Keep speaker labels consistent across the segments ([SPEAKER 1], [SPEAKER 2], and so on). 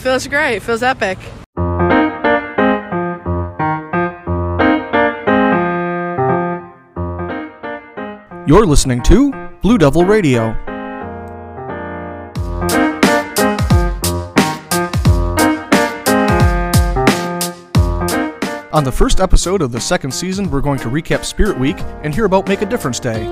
[SPEAKER 1] Feels great. Feels epic.
[SPEAKER 2] You're listening to Blue Devil Radio. On the first episode of the second season, we're going to recap Spirit Week and hear about Make a Difference Day.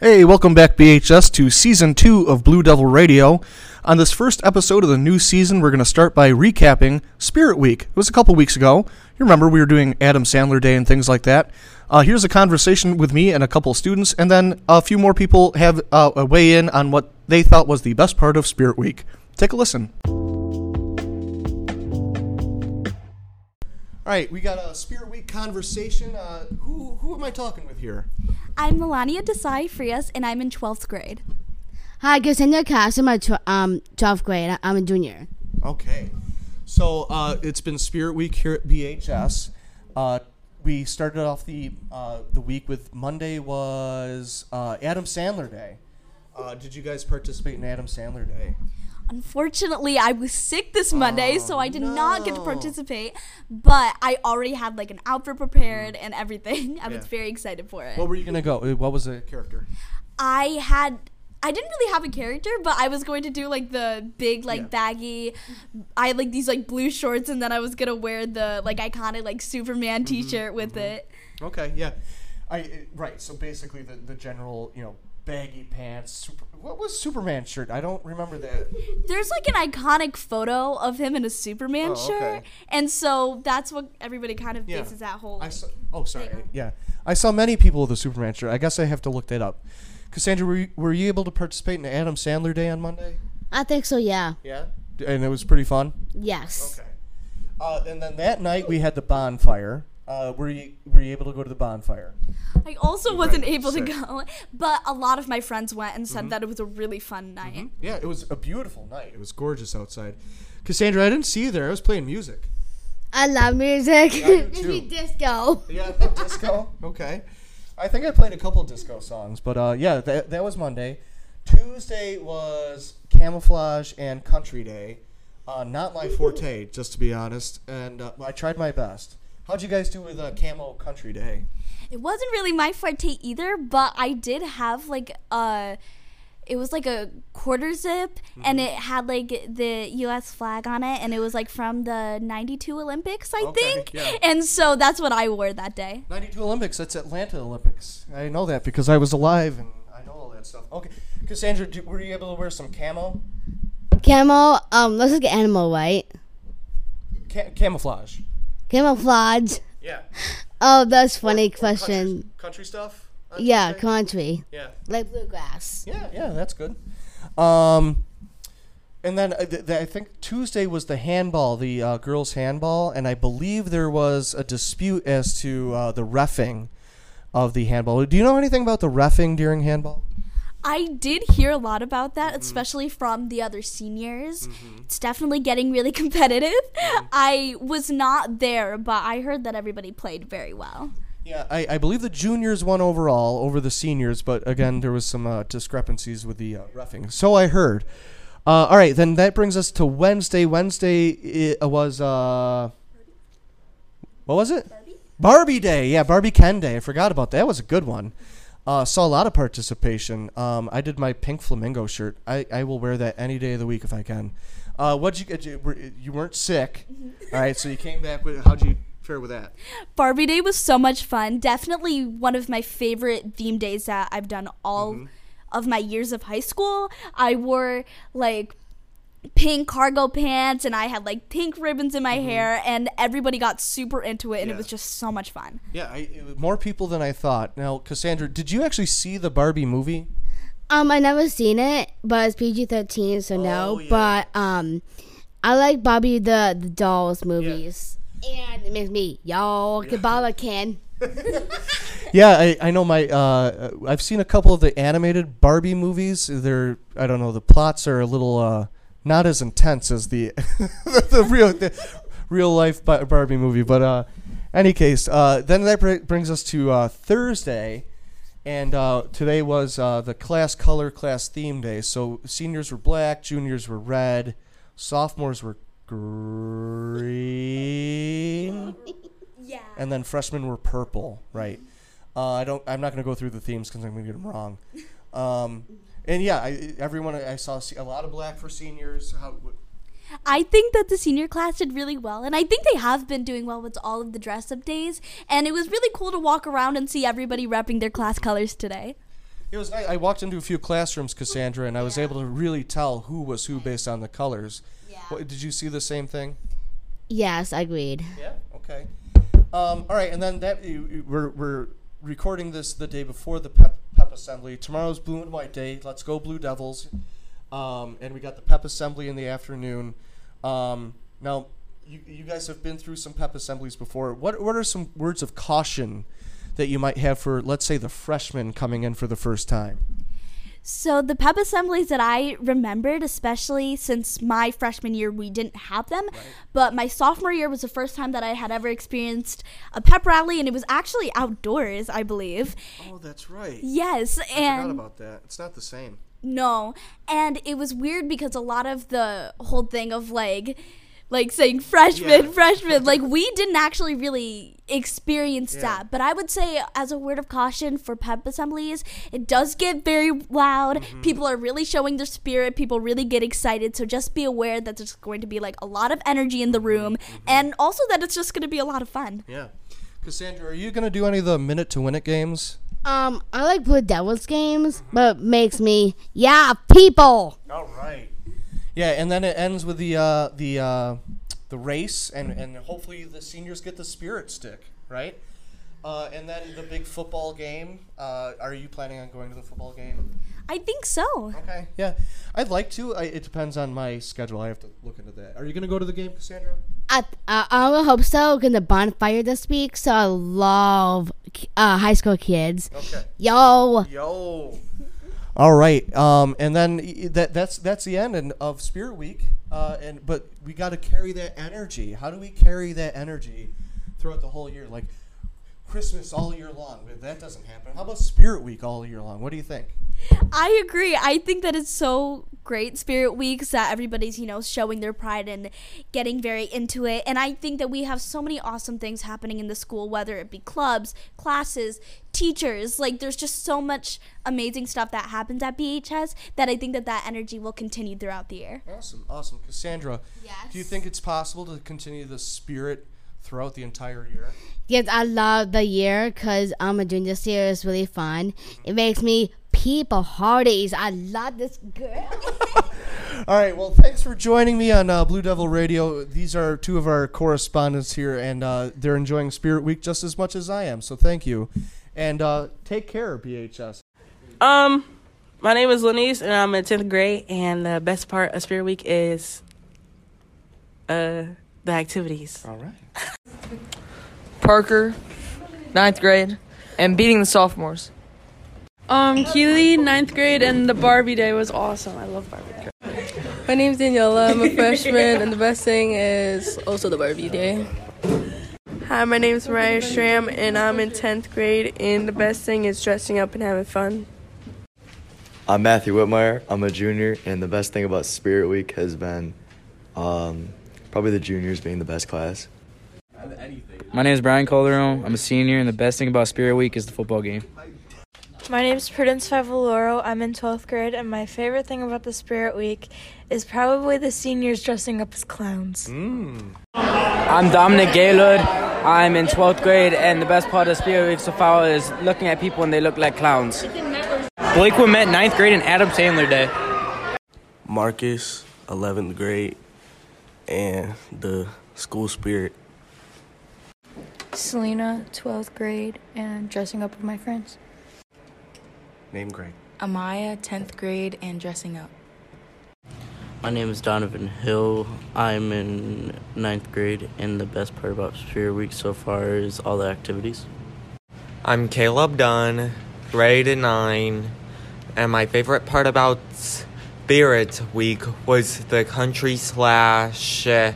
[SPEAKER 2] Hey, welcome back, BHS, to season two of Blue Devil Radio. On this first episode of the new season, we're going to start by recapping Spirit Week. It was a couple weeks ago. You remember we were doing Adam Sandler Day and things like that. Uh, here's a conversation with me and a couple students, and then a few more people have uh, a weigh in on what they thought was the best part of Spirit Week. Take a listen. All right, we got a Spirit Week conversation. Uh, who who am I talking with here?
[SPEAKER 3] I'm Melania Desai Frias, and I'm in 12th grade.
[SPEAKER 4] Hi, Cassandra Cass. I'm a tw- um, 12th grade. I- I'm a junior.
[SPEAKER 2] Okay. So uh, it's been Spirit Week here at BHS. Uh, we started off the uh, the week with Monday was uh, Adam Sandler Day. Uh, did you guys participate in Adam Sandler Day?
[SPEAKER 3] Unfortunately, I was sick this Monday, so I did not get to
[SPEAKER 2] Oh, no.
[SPEAKER 3] participate, but I already had like an outfit prepared and everything. I was
[SPEAKER 2] Mm. Yeah.
[SPEAKER 3] very excited for it.
[SPEAKER 2] What were you gonna go? Uh, What was the character?
[SPEAKER 3] I had I didn't really have a character, but I was going to do like the big like
[SPEAKER 2] Yeah.
[SPEAKER 3] baggy I had like these like blue shorts and then I was going to wear the like iconic like Superman
[SPEAKER 2] Mm-hmm,
[SPEAKER 3] t-shirt with it.
[SPEAKER 2] Okay, yeah. I uh, right. So basically, the the general you know baggy pants. Super, what was Superman shirt? I don't remember that.
[SPEAKER 3] There's like an iconic photo of him in a Superman
[SPEAKER 2] Oh,
[SPEAKER 3] shirt,
[SPEAKER 2] okay.
[SPEAKER 3] and so that's what everybody kind of
[SPEAKER 2] Yeah.
[SPEAKER 3] bases that whole.
[SPEAKER 2] I
[SPEAKER 3] like-
[SPEAKER 2] saw, oh, sorry.
[SPEAKER 3] There.
[SPEAKER 2] Yeah, I saw many people with a Superman shirt. I guess I have to look that up. Cassandra, were you, were you able to participate in Adam Sandler Day on Monday?
[SPEAKER 4] I think so, yeah.
[SPEAKER 2] Yeah. And it was pretty fun.
[SPEAKER 4] Yes.
[SPEAKER 2] Uh, and then that night we had the bonfire. Uh, were you were you able to go to the bonfire?
[SPEAKER 3] I also wasn't
[SPEAKER 2] Right,
[SPEAKER 3] able
[SPEAKER 2] sick.
[SPEAKER 3] to go, but a lot of my friends went and said
[SPEAKER 2] Mm-hmm.
[SPEAKER 3] that it was a really fun night.
[SPEAKER 2] Yeah, it was a beautiful night. It was gorgeous outside. Cassandra, I didn't see you there. I was playing music.
[SPEAKER 4] I love music.
[SPEAKER 2] I do
[SPEAKER 4] It's
[SPEAKER 2] too.
[SPEAKER 4] me disco.
[SPEAKER 2] Yeah, disco. Okay. I think I played a couple disco songs, but uh, yeah, that, that was Monday. Tuesday was Camouflage and Country Day. Uh, not my forte, just to be honest, and uh, I tried my best. How'd you guys do with uh, Camo Country Day?
[SPEAKER 3] It wasn't really my forte either, but I did have like a. It was like a quarter zip, and
[SPEAKER 2] Mm-hmm.
[SPEAKER 3] it had like the U.S. flag on it, and it was like from the '92 Olympics, I
[SPEAKER 2] Okay,
[SPEAKER 3] think.
[SPEAKER 2] yeah.
[SPEAKER 3] And so that's what I wore that day.
[SPEAKER 2] 92 Olympics, that's Atlanta Olympics. I know that because I was alive and I know all that stuff. Okay, Cassandra, do, were you able to wear some camo?
[SPEAKER 4] Camo, um, looks like an animal, right?
[SPEAKER 2] Ca- camouflage.
[SPEAKER 4] Camouflage.
[SPEAKER 2] Yeah.
[SPEAKER 4] Oh, that's funny question.
[SPEAKER 2] Country, stuff?
[SPEAKER 4] Yeah, country.
[SPEAKER 2] Yeah.
[SPEAKER 4] Like bluegrass.
[SPEAKER 2] Yeah, yeah, that's good. Um, and then I, th- th- I think Tuesday was the handball, the uh, girls' handball, and I believe there was a dispute as to uh, the refing of the handball. Do you know anything about the refing during handball?
[SPEAKER 3] I did hear a lot about that, especially from the other seniors. It's definitely getting really competitive. I was not there, but I heard that everybody played very well.
[SPEAKER 2] Yeah, I, I believe the juniors won overall over the seniors, but again, there was some uh, discrepancies with the uh, refing. So I heard. Uh, all right, then that brings us to Wednesday. Wednesday i was uh, what was it? Barbie? Day. Yeah, Barbie Ken Day. I forgot about that. That was a good one. Uh, saw a lot of participation. Um, I did my pink flamingo shirt. I, I will wear that any day of the week if I can. Uh, what'd you get? You, were- you weren't sick, all right? So you came back. With, how'd you fare with that?
[SPEAKER 3] Barbie Day was so much fun. Definitely one of my favorite theme days that I've done all of my years of high school. I wore like pink cargo pants and I had like pink ribbons in my hair and everybody got super into it and
[SPEAKER 2] Yeah.
[SPEAKER 3] it was just so much fun.
[SPEAKER 2] Yeah, I, it was more people than I thought. Now, Cassandra, did you actually see the Barbie movie?
[SPEAKER 4] Um, I never seen it, but it's PG thirteen, so no.
[SPEAKER 2] Oh, yeah.
[SPEAKER 4] But um, I like Bobby the the Dolls movies, and it makes me y'all Kabbalah can.
[SPEAKER 2] Yeah, I, I know my. Uh, I've seen a couple of the animated Barbie movies. They're I don't know. The plots are a little uh, not as intense as the the, the real the real life Ba- Barbie movie. But uh, any case, uh, then that br- brings us to uh, Thursday, And uh, today was uh, the class color, class theme day. So seniors were black, juniors were red, sophomores were green,
[SPEAKER 3] Yeah.
[SPEAKER 2] and then freshmen were purple. Right. Uh, I don't. I'm not going to go through the themes because I'm going to get them wrong. Um, and yeah, I, everyone I saw se- a lot of black for seniors. How,
[SPEAKER 3] I think that the senior class did really well, and I think they have been doing well with all of the dress up days. And it was really cool to walk around and see everybody repping their class colors today.
[SPEAKER 2] It was. I, I walked into a few classrooms, Cassandra, and I was able to really tell who was who based on the colors. Yeah. What, did you see the same thing?
[SPEAKER 4] Yes, agreed.
[SPEAKER 2] Yeah. Okay. Um, all right, and then that you, you- we're we're recording this the day before the pep, pep assembly. Tomorrow's blue and white day. Let's go Blue Devils. Um, and we got the pep assembly in the afternoon. Um, now, you, you guys have been through some pep assemblies before. What what are some words of caution that you might have for let's say the freshmen coming in for the first time?
[SPEAKER 3] So the pep assemblies that I remembered, especially since my freshman year, we didn't have them. But my sophomore year was the first time that I had ever experienced a pep rally, and it was actually outdoors, I believe.
[SPEAKER 2] Oh, that's right.
[SPEAKER 3] Yes,
[SPEAKER 2] forgot
[SPEAKER 3] and
[SPEAKER 2] about that. It's not the same.
[SPEAKER 3] no, and it was weird because a lot of the whole thing of like. Like saying freshman,
[SPEAKER 2] Yeah.
[SPEAKER 3] freshman. Like we didn't actually really experience
[SPEAKER 2] Yeah.
[SPEAKER 3] that. But I would say, as a word of caution for pep assemblies, it does get very loud.
[SPEAKER 2] Mm-hmm.
[SPEAKER 3] People are really showing their spirit. People really get excited. So just be aware that there's going to be like a lot of energy in the room, and also that it's just going to be a lot of fun.
[SPEAKER 2] Mm-hmm. Yeah. Cassandra, are you going to do any of the minute to win it games?
[SPEAKER 4] Um, I like Blue Devils games, but it makes me yeah people.
[SPEAKER 2] All right. Yeah, and then it ends with the uh, the uh, the race, and, and hopefully the seniors get the spirit stick, right? Uh, and then the big football game. Uh, are you planning on going to the football game?
[SPEAKER 3] I think so.
[SPEAKER 2] Okay. Yeah, I'd like to. I, it depends on my schedule. I have to look into that. Are you going to go to the game, Cassandra?
[SPEAKER 4] I I, I would hope so. Gonna bonfire this week, so I love uh, high school kids.
[SPEAKER 2] Okay.
[SPEAKER 4] Yo,
[SPEAKER 2] Yo. All right, um, and then y- that that's that's the end and- of Spirit Week, uh, and but we got to carry that energy. How do we carry that energy throughout the whole year? Like Christmas all year long, but that doesn't happen. How about Spirit Week all year long? What do you think?
[SPEAKER 3] I agree. I think that it's so great Spirit Weeks that everybody's, you know, showing their pride and getting very into it. And I think that we have so many awesome things happening in the school, whether it be clubs, classes, teachers. Like there's just so much amazing stuff that happens at BHS that I think that that energy will continue throughout the year.
[SPEAKER 2] Awesome, awesome, Cassandra. Do you
[SPEAKER 4] Yes.
[SPEAKER 2] think it's possible to continue the spirit throughout the entire year?
[SPEAKER 4] yes, I love the year because I'm a junior this year. It's really fun. It makes me people hearties. I love this girl.
[SPEAKER 2] All right. Well, thanks for joining me on uh, Blue Devil Radio. These are two of our correspondents here, and uh, they're enjoying Spirit Week just as much as I am. So thank you, and uh, take care, BHS.
[SPEAKER 1] Um, my name is Lenise, and I'm in tenth grade. And the best part of Spirit Week is, uh, the activities.
[SPEAKER 2] All right.
[SPEAKER 5] Parker, ninth grade, and beating the sophomores.
[SPEAKER 6] Um, Keely, ninth grade, and the Barbie day was awesome. I love Barbie day. My name's Daniela. I'm a freshman, and the best thing is also the Barbie day.
[SPEAKER 7] Hi, my name is Mariah Schramm, and I'm in 10th grade, and the best thing is dressing up and having fun.
[SPEAKER 8] I'm Matthew Whitmire. I'm a junior, and the best thing about Spirit Week has been um, probably the juniors being the best class.
[SPEAKER 9] My name is Brian Calderon. I'm a senior, and the best thing about Spirit Week is the football game.
[SPEAKER 10] My name's Prudence Favaloro. I'm in 12th grade, and my favorite thing about the Spirit Week is probably the seniors dressing up as clowns.
[SPEAKER 9] I'm Dominic Gaylord. I'm in 12th grade, and the best part of Spirit Week so far is looking at people and they look like clowns. Blake Wimet, 9th grade, and Adam Sandler Day.
[SPEAKER 11] Marcus, 11th grade, and the school spirit.
[SPEAKER 10] Selena, 12th grade, and dressing up with my friends.
[SPEAKER 11] Name Greg.
[SPEAKER 10] Amaya, 10th grade, and dressing up.
[SPEAKER 12] My name is Donovan Hill. I'm in ninth grade, and the best part about Spirit Week so far is all the activities.
[SPEAKER 11] I'm Caleb Dunn, grade 9, and my favorite part about Spirit Week was the country slash uh,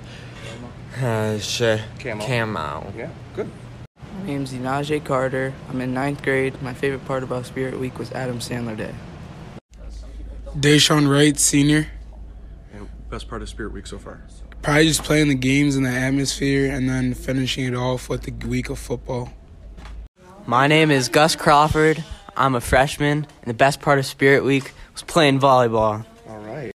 [SPEAKER 11] sh- camo.
[SPEAKER 10] My
[SPEAKER 13] My name's Dinajay Carter. I'm in ninth grade. My favorite part about Spirit Week was Adam Sandler Day.
[SPEAKER 14] Deshaun Wright, senior.
[SPEAKER 15] And best part of Spirit Week so far?
[SPEAKER 14] Probably just playing the games in the atmosphere and then finishing it off with the week of football.
[SPEAKER 16] My name is Gus Crawford. I'm a freshman, and the best part of Spirit Week was playing volleyball.
[SPEAKER 15] All right.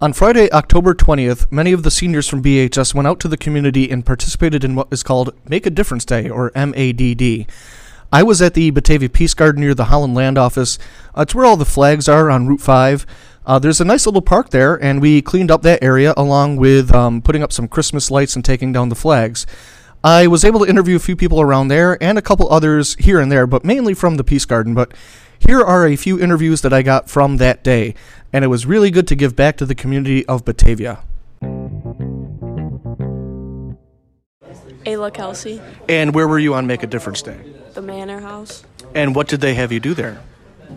[SPEAKER 2] On Friday, October 20th, many of the seniors from BHS went out to the community and participated in what is called Make a Difference Day, or MADD. I was at the Batavia Peace Garden near the Holland Land Office. Uh, it's where all the flags are on Route 5. Uh, there's a nice little park there, and we cleaned up that area along with um, putting up some Christmas lights and taking down the flags. I was able to interview a few people around there and a couple others here and there, but mainly from the Peace Garden. But here are a few interviews that I got from that day, and it was really good to give back to the community of Batavia.
[SPEAKER 6] Ayla Kelsey,
[SPEAKER 2] And where were you on Make a Difference Day?
[SPEAKER 6] the Manor House.
[SPEAKER 2] And what did they have you do there?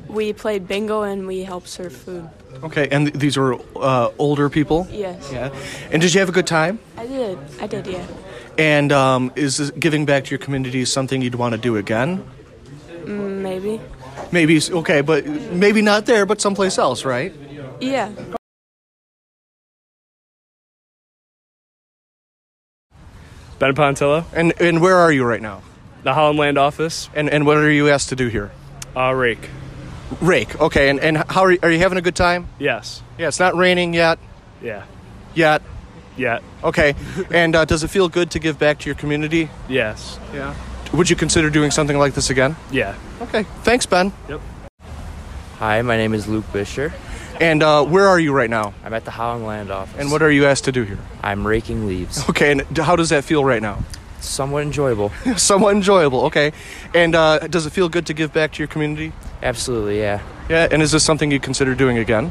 [SPEAKER 6] We played bingo and we helped serve food.
[SPEAKER 2] Okay, and th- these were uh, older people?
[SPEAKER 6] Yes.
[SPEAKER 2] Yeah. And did you have a good time?
[SPEAKER 6] I did. I did, yeah.
[SPEAKER 2] And um, is this- giving back to your community something you'd want to do again?
[SPEAKER 6] Mm, maybe.
[SPEAKER 2] Maybe, s- okay, but maybe not there, but someplace else, right?
[SPEAKER 6] Yeah.
[SPEAKER 17] Ben Pontillo.
[SPEAKER 2] And and where are you right now?
[SPEAKER 17] The Holland Land office.
[SPEAKER 2] And and what are you asked to do here?
[SPEAKER 17] Uh, rake.
[SPEAKER 2] Rake, okay, and, and how are you, are you having a good time?
[SPEAKER 17] Yes.
[SPEAKER 2] Yeah, it's not raining yet.
[SPEAKER 17] Yeah.
[SPEAKER 2] Yet.
[SPEAKER 17] Yet.
[SPEAKER 2] Okay, and uh, does it feel good to give back to your community?
[SPEAKER 17] Yes.
[SPEAKER 2] Yeah. Would you consider doing something like this again?
[SPEAKER 17] Yeah.
[SPEAKER 2] Okay, thanks, Ben.
[SPEAKER 17] Yep.
[SPEAKER 2] Hi, my name is Luke Bisher. And uh, where are you right now?
[SPEAKER 18] I'm at the Holland Land office.
[SPEAKER 2] And what are you asked to do here?
[SPEAKER 18] I'm raking leaves.
[SPEAKER 2] Okay, and d- how does that feel right now?
[SPEAKER 18] Somewhat enjoyable.
[SPEAKER 2] Somewhat enjoyable, okay. And uh, does it feel good to give back to your community?
[SPEAKER 18] Absolutely, yeah.
[SPEAKER 2] Yeah, and is this something you consider doing again?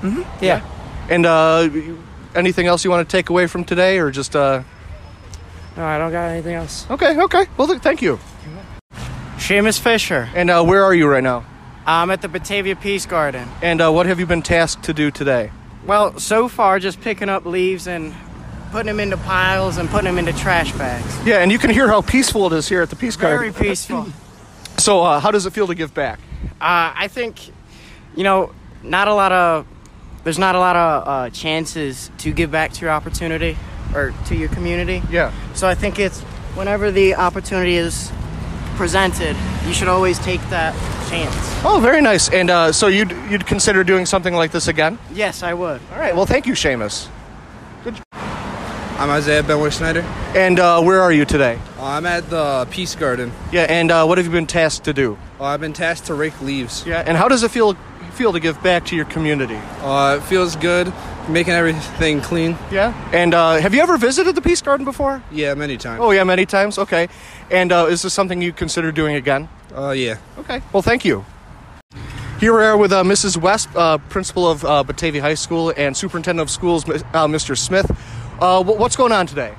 [SPEAKER 18] Mm-hmm. Yeah.
[SPEAKER 2] And uh, anything else you want to take away from today, or just? Uh...
[SPEAKER 18] No, I don't got anything else.
[SPEAKER 2] Okay, okay. Well, th- thank you.
[SPEAKER 19] Seamus Fisher.
[SPEAKER 2] And uh, where are you right now?
[SPEAKER 19] I'm at the Batavia Peace Garden.
[SPEAKER 2] And uh, what have you been tasked to do today?
[SPEAKER 19] Well, so far, just picking up leaves and putting them into piles and putting them into trash bags.
[SPEAKER 2] Yeah, and you can hear how peaceful it is here at the Peace
[SPEAKER 19] Very
[SPEAKER 2] Garden.
[SPEAKER 19] peaceful.
[SPEAKER 2] So, uh, how does it feel to give back?
[SPEAKER 19] Uh, I think, you know, not a lot of there's not a lot of uh, chances to give back to your opportunity or to your community.
[SPEAKER 2] Yeah.
[SPEAKER 19] So I think it's whenever the opportunity is presented, you should always take that chance.
[SPEAKER 2] Oh, very nice. And uh, so you'd you'd consider doing something like this again?
[SPEAKER 19] Yes, I would.
[SPEAKER 2] All right. Well, thank you, Seamus.
[SPEAKER 20] I'm Isaiah Benway Schneider.
[SPEAKER 2] And uh, where are you today?
[SPEAKER 20] I'm at the Peace Garden.
[SPEAKER 2] Yeah. And uh, what have you been tasked to do?
[SPEAKER 20] Uh, I've been tasked to rake leaves.
[SPEAKER 2] Yeah. And how does it feel feel to give back to your community?
[SPEAKER 20] Uh, it feels good, making everything clean.
[SPEAKER 2] Yeah. And uh, have you ever visited the Peace Garden before?
[SPEAKER 20] Yeah, many times.
[SPEAKER 2] Oh yeah, many times. Okay. And uh, is this something you consider doing again?
[SPEAKER 20] Uh, yeah.
[SPEAKER 2] Okay. Well, thank you. Here we are with uh, Mrs. West, uh, principal of uh, Batavia High School and superintendent of schools, mi- uh, Mr. Smith. Uh, wh- what's going on today?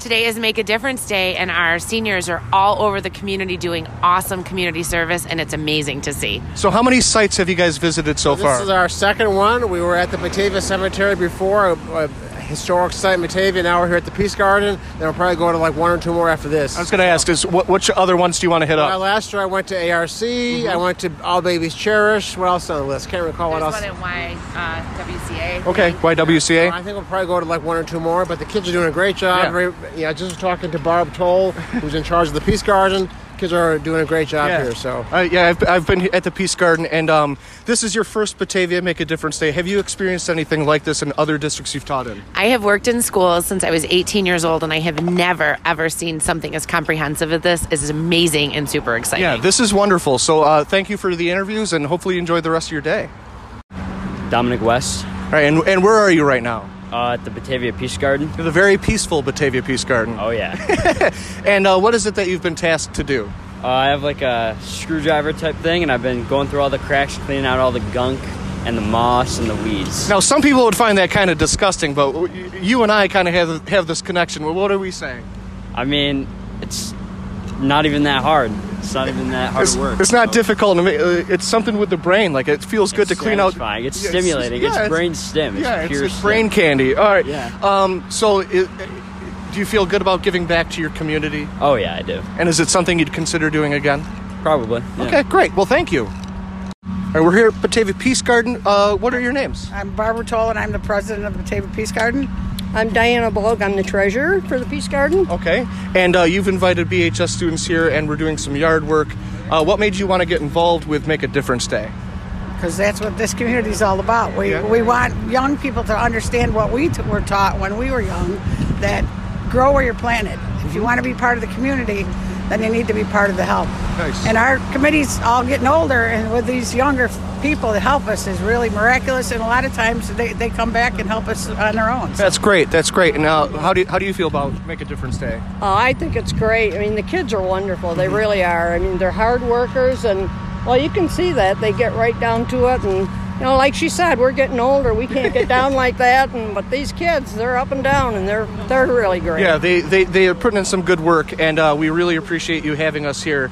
[SPEAKER 21] Today is Make a Difference Day, and our seniors are all over the community doing awesome community service, and it's amazing to see.
[SPEAKER 2] So, how many sites have you guys visited so
[SPEAKER 22] This
[SPEAKER 2] far?
[SPEAKER 22] is our second one. We were at the Batavia Cemetery before, a, a uh, historic site in Batavia. Now we're here at the Peace Garden, and we'll probably go to like one or two more after this.
[SPEAKER 2] I was going to ask, is what, which other ones do you want to hit
[SPEAKER 22] Well,
[SPEAKER 2] up?
[SPEAKER 22] last year I went to ARC. I
[SPEAKER 17] Mm-hmm.
[SPEAKER 22] went to All Babies Cherish. What else on the list? Can't recall
[SPEAKER 21] There's
[SPEAKER 22] what else.
[SPEAKER 21] one at y, uh, WCA.
[SPEAKER 2] Okay, YWCA.
[SPEAKER 22] I think we'll probably go to like one or two more, but the kids are doing a great job.
[SPEAKER 2] Yeah.
[SPEAKER 22] Very, yeah, I just was talking to Barb Toll, who's in charge of the Peace Garden. Kids are doing a great job here. So
[SPEAKER 2] Uh, yeah, I've, I've been at the Peace Garden, and um, this is your first Batavia Make a Difference Day. Have you experienced anything like this in other districts you've taught in?
[SPEAKER 21] I have worked in schools since I was 18 years old, and I have never, ever seen something as comprehensive as this. It's amazing and super exciting.
[SPEAKER 2] Yeah, this is wonderful. So uh, thank you for the interviews, and hopefully you enjoy the rest of your day.
[SPEAKER 23] Dominic West.
[SPEAKER 2] All right, and, and where are you right now?
[SPEAKER 23] Uh, at the Batavia Peace Garden.
[SPEAKER 2] The very peaceful Batavia Peace Garden.
[SPEAKER 23] Oh yeah.
[SPEAKER 2] And uh, what is it that you've been tasked to do?
[SPEAKER 23] Uh, I have like a screwdriver type thing, and I've been going through all the cracks, cleaning out all the gunk and the moss and the weeds.
[SPEAKER 2] Now, some people would find that kind of disgusting, but w- you and I kind of have, have this connection. Well, What are we saying?
[SPEAKER 23] I mean, it's not even that hard. It's not even that hard
[SPEAKER 2] it's,
[SPEAKER 23] to work.
[SPEAKER 2] it's not difficult. to ma- uh, It's something with the brain. Like it feels good to clean out.
[SPEAKER 23] satisfying. It's
[SPEAKER 2] Yeah,
[SPEAKER 23] stimulating. It's brain stim. It's
[SPEAKER 2] yeah,
[SPEAKER 23] pure
[SPEAKER 2] it's
[SPEAKER 23] stim.
[SPEAKER 2] brain candy. All right.
[SPEAKER 23] Yeah.
[SPEAKER 2] Um, so, i- do you feel good about giving back to your community?
[SPEAKER 24] Oh yeah, I do.
[SPEAKER 2] And is it something you'd consider doing again?
[SPEAKER 24] Probably. yeah.
[SPEAKER 2] Okay, great. Well, thank you. All right, we're here at Batavia Peace Garden. Uh, what are your names?
[SPEAKER 1] I'm Barbara Toll, and I'm the president of the Table Peace Garden. I'm Diana Blog. I'm the treasurer for the Peace Garden.
[SPEAKER 2] Okay. And uh, you've invited BHS students here, and we're doing some yard work. Uh, what made you want to get involved with Make a Difference Day?
[SPEAKER 1] Because that's what this community is all about. We, we want young people to understand what we t- were taught when we were young that grow where you're planted.
[SPEAKER 2] Mm-hmm.
[SPEAKER 1] If you want to be part of the community, then you need to be part of the help.
[SPEAKER 2] Nice.
[SPEAKER 1] And our committee's all getting older, and with these younger f- people that help us is really miraculous. And a lot of times they, they come back and help us on their own.
[SPEAKER 2] That's great. That's great. And uh, how do you, how do you feel about Make a Difference Day?
[SPEAKER 1] Oh, I think it's great. I mean, the kids are wonderful. They really are. I mean, they're hard workers, and well, you can see that they get right down to it. And you know, like she said, we're getting older. We can't get down like that. And but these kids, they're up and down, and they're they're really great.
[SPEAKER 2] Yeah, they, they, they are putting in some good work, and uh, we really appreciate you having us here.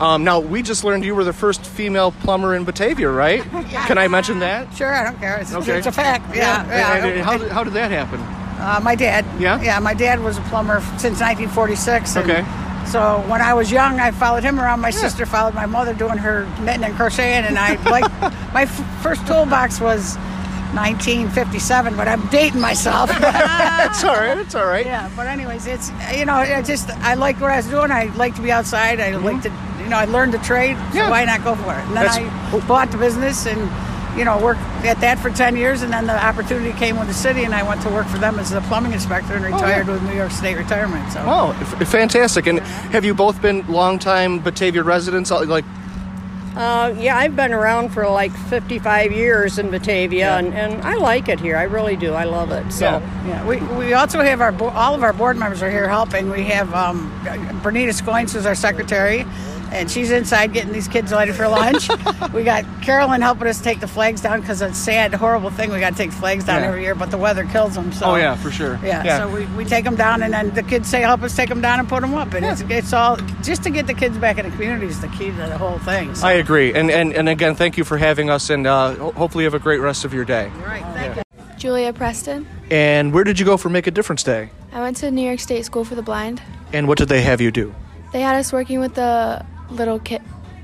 [SPEAKER 2] Um, now, we just learned you were the first female plumber in Batavia, right? Can I mention that?
[SPEAKER 1] Sure, I don't care. It's,
[SPEAKER 2] Okay.
[SPEAKER 1] it's a fact. Yeah,
[SPEAKER 2] And-
[SPEAKER 1] yeah.
[SPEAKER 2] and How, how did that happen?
[SPEAKER 1] Uh, my dad.
[SPEAKER 2] Yeah?
[SPEAKER 1] Yeah, my dad was a plumber f- since 1946. and
[SPEAKER 2] Okay.
[SPEAKER 1] So when I was young, I followed him around. My sister followed my mother doing her knitting and crocheting, and I like my f- first toolbox was 1957. But I'm dating myself.
[SPEAKER 2] it's all right. It's all right.
[SPEAKER 1] Yeah. But anyways, it's you know, I just I like what I was doing. I like to be outside. I like to you know, I learned the trade. So
[SPEAKER 19] Yeah.
[SPEAKER 1] why not go for it? And then
[SPEAKER 19] That's-
[SPEAKER 1] I bought the business and. You know, worked at that for 10 years, and then the opportunity came with the city, and I went to work for them as the plumbing inspector and
[SPEAKER 2] yeah.
[SPEAKER 1] retired with New York State Retirement. So.
[SPEAKER 2] Oh, f- fantastic. And have you both been longtime Batavia residents? Uh, Like,
[SPEAKER 19] Uh, yeah, I've been around for like 55 years in Batavia, and, and I like it here. I really do. I love it. So,
[SPEAKER 1] Yeah, we, we also have our bo- all of our board members are here helping. We have um, Bernita Scoins who's our secretary, and she's inside getting these kids ready for lunch. we got Carolyn helping us take the flags down because it's a sad, horrible thing. We got to take flags down
[SPEAKER 2] Yeah.
[SPEAKER 1] every year, but the weather kills them. So
[SPEAKER 2] oh yeah, for sure.
[SPEAKER 1] yeah, so we, we take them down, and then the kids say, "Help us take them down and put them up." And it's, it's all just to get the kids back in the community is the key to the whole thing. So.
[SPEAKER 2] I agree. And, and and again, thank you for having us, and uh, ho- hopefully you have a great rest of your day.
[SPEAKER 23] Julia Preston.
[SPEAKER 2] And where did you go for Make a Difference Day?
[SPEAKER 23] I went to New York State School for the Blind.
[SPEAKER 2] And what did they have you do?
[SPEAKER 23] They had us working with the little kid,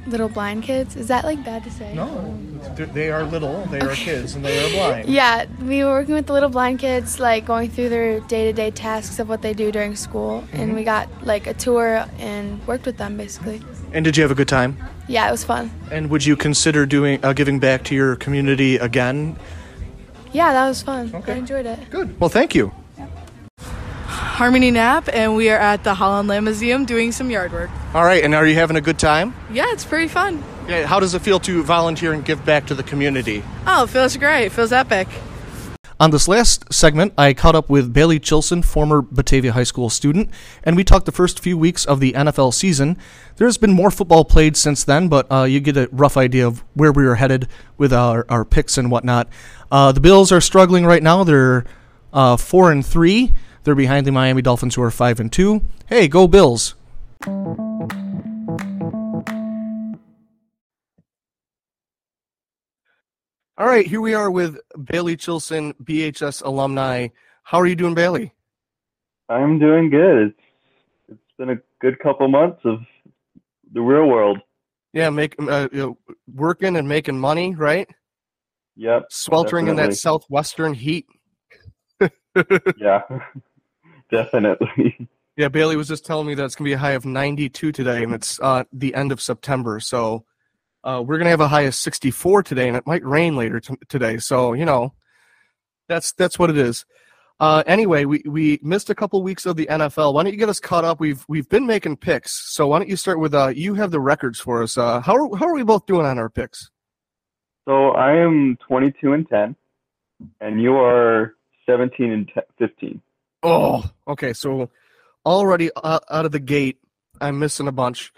[SPEAKER 23] little blind kids. Is that like bad to say? No.
[SPEAKER 2] Oh, They are little, they are kids, and they are blind.
[SPEAKER 23] Yeah, we were working with the little blind kids, like going through their day-to-day tasks of what they do during school, and
[SPEAKER 2] Mhm.
[SPEAKER 23] we got like a tour and worked with them basically.
[SPEAKER 2] And did you have a good time?
[SPEAKER 23] Yeah, it was fun.
[SPEAKER 2] And would you consider doing uh, giving back to your community again?
[SPEAKER 23] Yeah, that was fun. I enjoyed it.
[SPEAKER 2] Good. Well, thank you.
[SPEAKER 25] Harmony Knapp, and we are at the Holland Land Museum doing some yard work.
[SPEAKER 2] All right, and are you having a good time?
[SPEAKER 25] Yeah, it's pretty fun.
[SPEAKER 2] Yeah, how does it feel to volunteer and give back to the community?
[SPEAKER 25] Oh, it feels great. It feels epic.
[SPEAKER 26] On this last segment, I caught up with Bailey Chilson, former Batavia High School student, and we talked the first few weeks of the NFL season. There's been more football played since then, but uh, you get a rough idea of where we are headed with our, our picks and whatnot. Uh, the Bills are struggling right now. They're uh, four and three. They're behind the Miami Dolphins, who are five and two. Hey, go Bills!
[SPEAKER 2] All right, here we are with Bailey Chilson, BHS alumni. How are you doing, Bailey?
[SPEAKER 27] I'm doing good. It's it's been a good couple months of the real world.
[SPEAKER 2] Yeah, make uh, you know, working and making money, right?
[SPEAKER 27] Yep.
[SPEAKER 2] Sweltering in
[SPEAKER 27] definitely.
[SPEAKER 2] that southwestern heat.
[SPEAKER 27] yeah, definitely.
[SPEAKER 2] Yeah, Bailey was just telling me that it's gonna be a high of 92 today, and it's uh, the end of September. So uh, we're gonna have a high of 64 today, and it might rain later t- today. So you know, that's that's what it is. Uh, anyway, we, we missed a couple weeks of the NFL. Why don't you get us caught up? We've we've been making picks, so why don't you start with uh, you have the records for us. Uh, how are, how are we both doing on our picks?
[SPEAKER 27] So I am 22 and 10, and you are 17 and 10, 15.
[SPEAKER 2] Oh, okay. So already uh, out of the gate, I'm missing a bunch.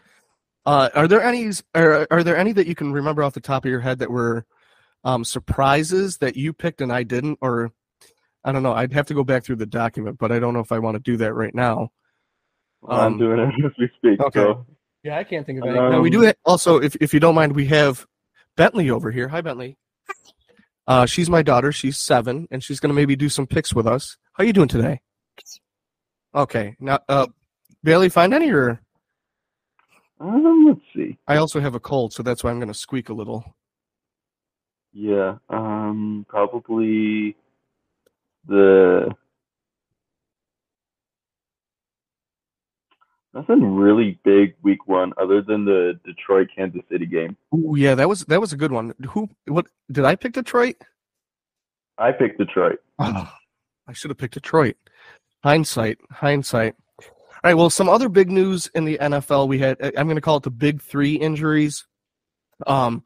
[SPEAKER 2] Uh, are there any? Are, are there any that you can remember off the top of your head that were um, surprises that you picked and I didn't? Or I don't know. I'd have to go back through the document, but I don't know if I want to do that right now.
[SPEAKER 27] I'm doing it as we speak.
[SPEAKER 2] Um, okay.
[SPEAKER 27] So
[SPEAKER 2] Yeah, I can't think of any. now
[SPEAKER 27] Um,
[SPEAKER 2] we do ha- also, if if you don't mind, we have Bentley over here. Hi, Bentley. Uh, she's my daughter. She's seven, and she's gonna maybe do some picks with us. How you doing today? Okay. Now, uh, Bailey, find any or?
[SPEAKER 27] Um, let's see.
[SPEAKER 2] I also have a cold, so that's why I'm going to squeak a little.
[SPEAKER 27] Yeah, um, probably the nothing really big week one other than the Detroit Kansas City game.
[SPEAKER 2] Ooh, yeah, that was that was a good one. Who? What? Did I pick Detroit?
[SPEAKER 27] I picked Detroit.
[SPEAKER 2] Oh, I should have picked Detroit. Hindsight, hindsight. All right. Well, some other big news in the NFL. We had I'm going to call it the big three injuries. Um,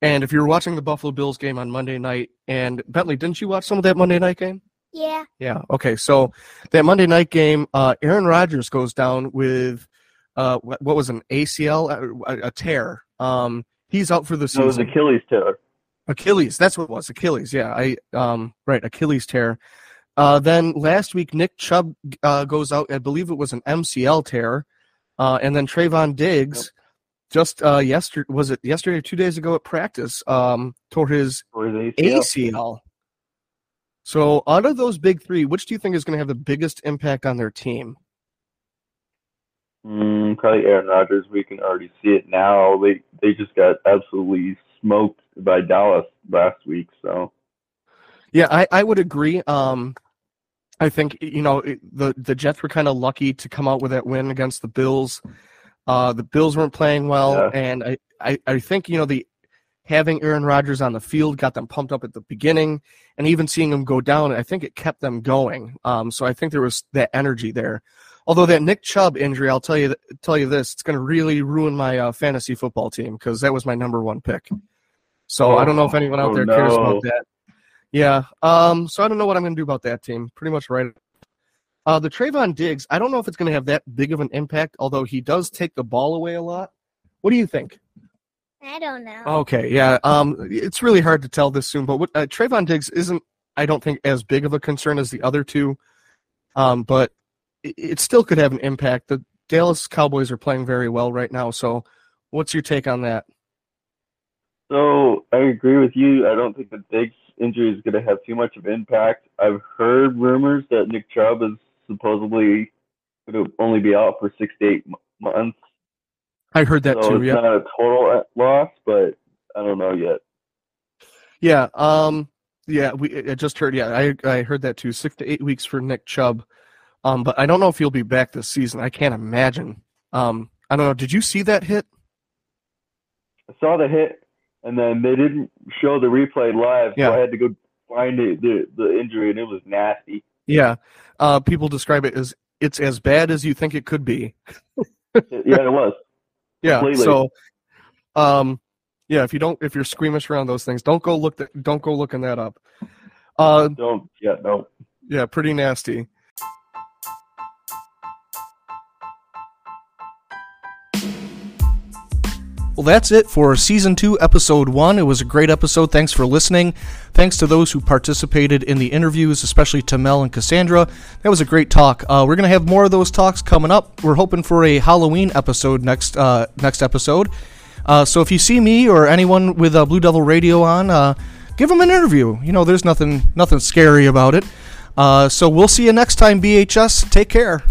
[SPEAKER 2] and if you were watching the Buffalo Bills game on Monday night, and Bentley, didn't you watch some of that Monday night game?
[SPEAKER 3] Yeah.
[SPEAKER 2] Yeah. Okay. So that Monday night game, uh, Aaron Rodgers goes down with uh, wh- what was an ACL, uh, a, a tear. Um, he's out for the
[SPEAKER 27] No,
[SPEAKER 2] season.
[SPEAKER 27] it was Achilles tear.
[SPEAKER 2] Achilles. That's what it was. Achilles. Yeah. I um right. Achilles tear. Uh, then last week Nick Chubb uh, goes out. I believe it was an MCL tear. Uh, and then Trayvon Diggs, just uh, yesterday was it yesterday or two days ago at practice, um, tore his
[SPEAKER 27] ACL.
[SPEAKER 2] ACL. So out of those big three, which do you think is going to have the biggest impact on their team?
[SPEAKER 27] Mm, probably Aaron Rodgers. We can already see it now. They they just got absolutely smoked by Dallas last week. So
[SPEAKER 2] Yeah, I, I would agree. Um, I think you know it- the the Jets were kind of lucky to come out with that win against the Bills. Uh, the Bills weren't playing well,
[SPEAKER 28] Yeah.
[SPEAKER 2] and I, I, I think you know the having Aaron Rodgers on the field got them pumped up at the beginning, and even seeing him go down, I think it kept them going. Um, so I think there was that energy there. Although that Nick Chubb injury, I'll tell you th- tell you this, it's going to really ruin my uh, fantasy football team because that was my number one pick. So I don't know if anyone out
[SPEAKER 28] Oh,
[SPEAKER 2] there cares
[SPEAKER 28] no.
[SPEAKER 2] about that. Yeah. Um, so I don't know what I'm going to do about that team. Pretty much right. Uh, the Trayvon Diggs, I don't know if it's going to have that big of an impact, although he does take the ball away a lot. What do you think?
[SPEAKER 3] I don't know.
[SPEAKER 2] Okay, yeah. Um, it's really hard to tell this soon, but what, uh, Trayvon Diggs isn't, I don't think, as big of a concern as the other two. Um, but it, it still could have an impact. The Dallas Cowboys are playing very well right now. So, what's your take on that?
[SPEAKER 27] So I agree with you. I don't think the Diggs injury is going to have too much of impact. I've heard rumors that Nick Chubb is supposedly going to only be out for six to eight m- months.
[SPEAKER 2] I heard that
[SPEAKER 27] so
[SPEAKER 2] too.
[SPEAKER 27] it's
[SPEAKER 2] Yeah.
[SPEAKER 27] not a total uh, loss, but I don't know yet.
[SPEAKER 2] Yeah. Um. Yeah. We. I just heard. Yeah. I. I heard that too. Six to eight weeks for Nick Chubb. Um. But I don't know if he'll be back this season. I can't imagine. Um. I don't know. Did you see that hit?
[SPEAKER 27] I saw the hit, and then they didn't show the replay live,
[SPEAKER 2] Yeah.
[SPEAKER 27] so I had to go find the, the the injury, and it was nasty.
[SPEAKER 2] Yeah. Uh. People describe it as it's as bad as you think it could be.
[SPEAKER 27] yeah, it was.
[SPEAKER 2] Yeah.
[SPEAKER 27] Completely.
[SPEAKER 2] So. Um. Yeah. If you don't, if you're squeamish around those things, don't go look. That, don't go looking that up. Uh.
[SPEAKER 27] Don't. Yeah. No.
[SPEAKER 2] Yeah. Pretty nasty.
[SPEAKER 29] Well, that's it for season two, episode one. It was a great episode. Thanks for listening. Thanks to those who participated in the interviews, especially to Mel and Cassandra. That was a great talk. Uh, we're gonna have more of those talks coming up. We're hoping for a Halloween episode next uh, next episode. Uh, so if you see me or anyone with uh, Blue Devil Radio on, uh, give them an interview. You know, there's nothing nothing scary about it. Uh, so we'll see you next time, BHS. Take care.